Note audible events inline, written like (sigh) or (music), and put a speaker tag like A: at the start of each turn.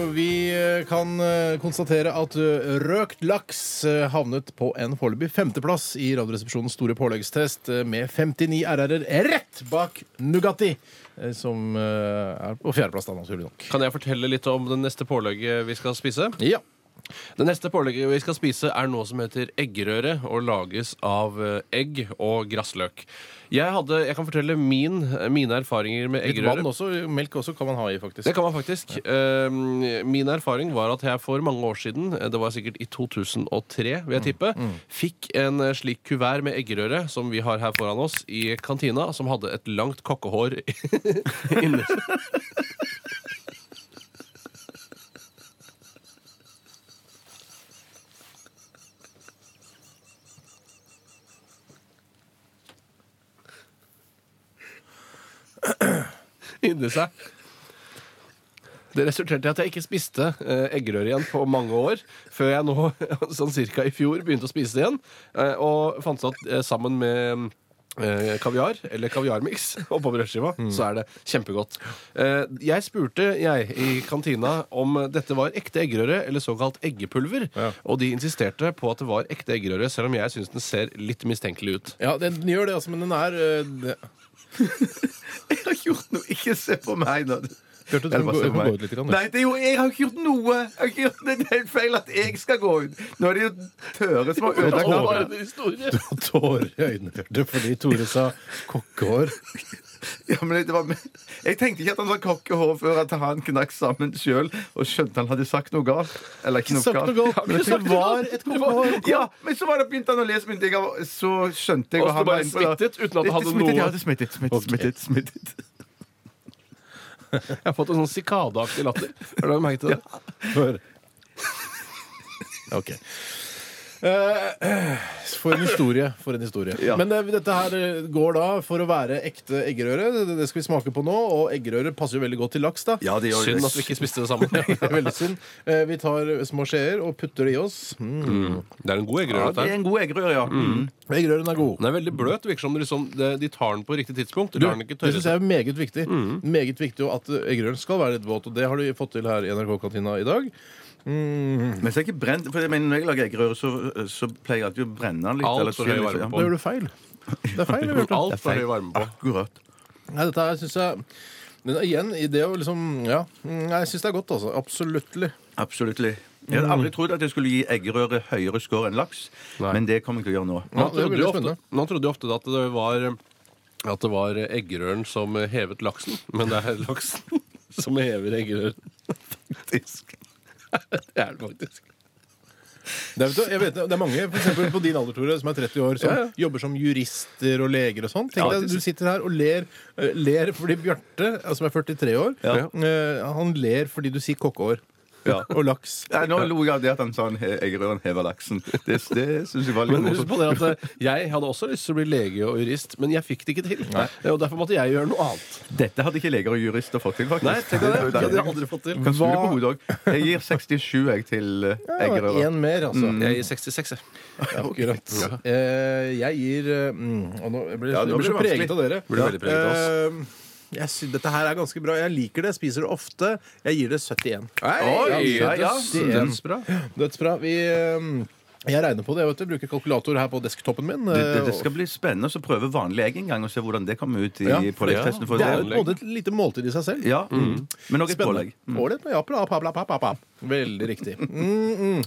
A: Vi eh, kan eh, konstatere at eh, røkt laks eh, havnet på en foreløpig femteplass i Radioresepsjonens store påleggstest eh, med 59 RR-er rett bak Nugatti, eh, som eh, er på fjerdeplass, da, naturlig nok.
B: Kan jeg fortelle litt om det neste pålegget vi skal spise?
A: Ja.
B: Det neste pålegget vi skal spise, er noe som heter eggerøre, og lages av eh, egg og grassløk. Jeg, hadde, jeg kan fortelle min, mine erfaringer med
A: Litt
B: eggerøre.
A: vann også. Melk også kan man ha i, faktisk.
B: Det kan man faktisk. Eh, Min erfaring var at jeg for mange år siden, eh, det var sikkert i 2003, vil jeg tippe, fikk en eh, slik kuvert med eggerøre som vi har her foran oss, i kantina, som hadde et langt kokkehår (laughs) inni Inni seg. Det resulterte i at jeg ikke spiste eh, eggerøre igjen på mange år, før jeg nå, (laughs) sånn cirka i fjor, begynte å spise det igjen. Eh, og fant ut at eh, sammen med eh, kaviar, eller kaviarmiks, (laughs) oppå brødskiva,
A: Mm.
B: så er det kjempegodt. Eh, jeg spurte, jeg, i kantina om dette var ekte eggerøre eller såkalt eggepulver,
A: Ja.
B: og de insisterte på at det var ekte eggerøre, selv om jeg syns den ser litt
A: (laughs)
B: mistenkelig ut.
A: Ja, den gjør det, altså, men den er eh, det-
C: Jeg har ikke gjort noe. Ikke se på meg nå.
A: Bjarte, du
C: Eller
A: må
C: bare
A: gå-
C: se
A: du
C: på
A: må
C: meg.
A: gå ut litt. Grann, du.
C: Nei, det er jo, jeg har ikke gjort noe! Jeg har ikke gjort, det er helt feil at jeg skal gå ut. Nå er det jo Tøre som har ødelagt
A: Tore.
C: alt.
A: Du har tårer i øynene Bjarte, fordi Tore sa kokkehår.
C: Ja, men det var, jeg tenkte ikke at han var kokkehår før at han knakk sammen sjøl og skjønte han hadde sagt noe galt. Eller ikke noe
A: Sagt noe
C: galt.
A: galt.
C: men,
A: Det var et kokkehår.
C: ja, men så var det begynte han å lese myndighet, og så skjønte jeg
B: Og så
C: han
B: bare
C: var inne på det.
B: smittet uten at det
C: Litt
B: hadde
C: smittet,
B: noe-
C: Ja, det smittet, smittet, smittet, smittet.
B: Jeg har fått en sånn sikadeaktig latter. Har du merket det?
A: Hør. OK. Eh, For en historie. For en historie.
C: Ja.
A: Men eh, dette her eh, går da for å være ekte eggerøre. Det- Det skal vi smake på nå. Og eggerøre passer jo veldig godt til laks, da.
C: Ja, det gjør
B: Synd at vi ikke spiste det
A: (laughs)
B: sammen.
A: Det er veldig synd. Eh, Vi tar små skjeer og putter det i oss. Mm.
B: Det er en god eggerøre.
C: Ja,
B: dette
C: det
B: her.
C: er en god eggerøre, ja. Mm.
A: Eggerøren er god.
B: Den er veldig bløt. Virker som de, liksom, de, de tar den på riktig tidspunkt.
A: Du,
B: lar den ikke
A: det
B: Mm. tørre
A: syns jeg er meget viktig. Meget viktig og At eh, eggerøren skal være litt våt. Og det har du fått til her i NRK-kantina i dag.
C: Men så er jeg ikke brent, for jeg mener, når jeg lager eggerøre, så, så pleier jeg alltid å brenne den litt.
B: Alt
C: eller
B: for
C: skylle
B: høy
C: litt, ja.
B: varme på.
A: Da gjør du feil. Det er
B: (laughs)
A: feil. Ah,
B: seg.
A: Bjarte.
B: Alt for høy varme på.
C: Akkurat.
A: Nei, dette her syns jeg Men igjen, i det å liksom Ja, mm, jeg syns det er godt, altså. Absoluttlig.
C: Absolutt. Jeg hadde aldri trodd at jeg skulle gi eggerøre høyere skår enn laks,
B: Nei.
C: men det kommer jeg til å gjøre nå.
A: Ja,
B: Nå
A: det er
B: trodde,
A: veldig
B: jo ofte,
A: spennende.
B: nå trodde jeg ofte at det var at det var eggerøren som hevet laksen, men det er laksen (laughs) som hever eggerøren. Faktisk. (laughs) Det er det faktisk.
A: Det er, vet du, jeg vet, det er mange for eksempel på din alder, Tore, som er 30 år, som jobber som jurister og leger og sånn. Tenk deg, Du sitter her og ler, eh, ler fordi Bjarte, eh, som er 43 år, eh, han ler fordi du sier kokkeår. Og laks.
C: Nei, nå lo jeg av det at han sa han he- eggerøren hever laksen. Det, det syns jeg var litt
B: Men husk
C: morsomt.
B: på det at eh, jeg hadde også lyst til å bli lege og jurist, men jeg fikk det ikke til. Eh, Og derfor måtte jeg gjøre noe annet.
C: Dette hadde ikke leger og jurister fått til, faktisk.
B: Nei, tenk deg det. Det hadde jeg aldri fått til.
C: Kan snu det på
A: Hva-
C: hodet òg. Jeg gir 67 jeg til eh, eggerøre.
A: Én mer, altså.
B: Mm. Jeg gir 66, jeg.
A: Akkurat. Eh, jeg gir eh, mm, og Nå jeg blir
C: Ja,
A: jeg
C: nå
A: blir
C: blir
A: så
C: det
A: preget
C: vanskelig.
A: av dere.
B: Blir veldig preget av
A: Eh, jeg sy- dette her er ganske bra. Jeg liker det, jeg spiser det ofte. Jeg gir det 71.
B: Oi,
C: ja, ja.
B: dødsbra.
A: Dødsbra. Vi, eh, jeg regner på det. Vet du. Bruker kalkulator her på desktopen min.
C: Det,
A: eh,
C: det, det skal bli spennende å prøve vanlig egg en gang og se hvordan det kommer ut i
A: Ja,
C: påleggstesten.
A: og-
C: For
A: det er jo
C: det.
A: på en måte et lite måltid i seg selv.
C: Ja, Men òg et pålegg.
A: Spennende. Ålreit, men ja, bra, bra, bra, bra, bra. Veldig riktig. Mm, mm.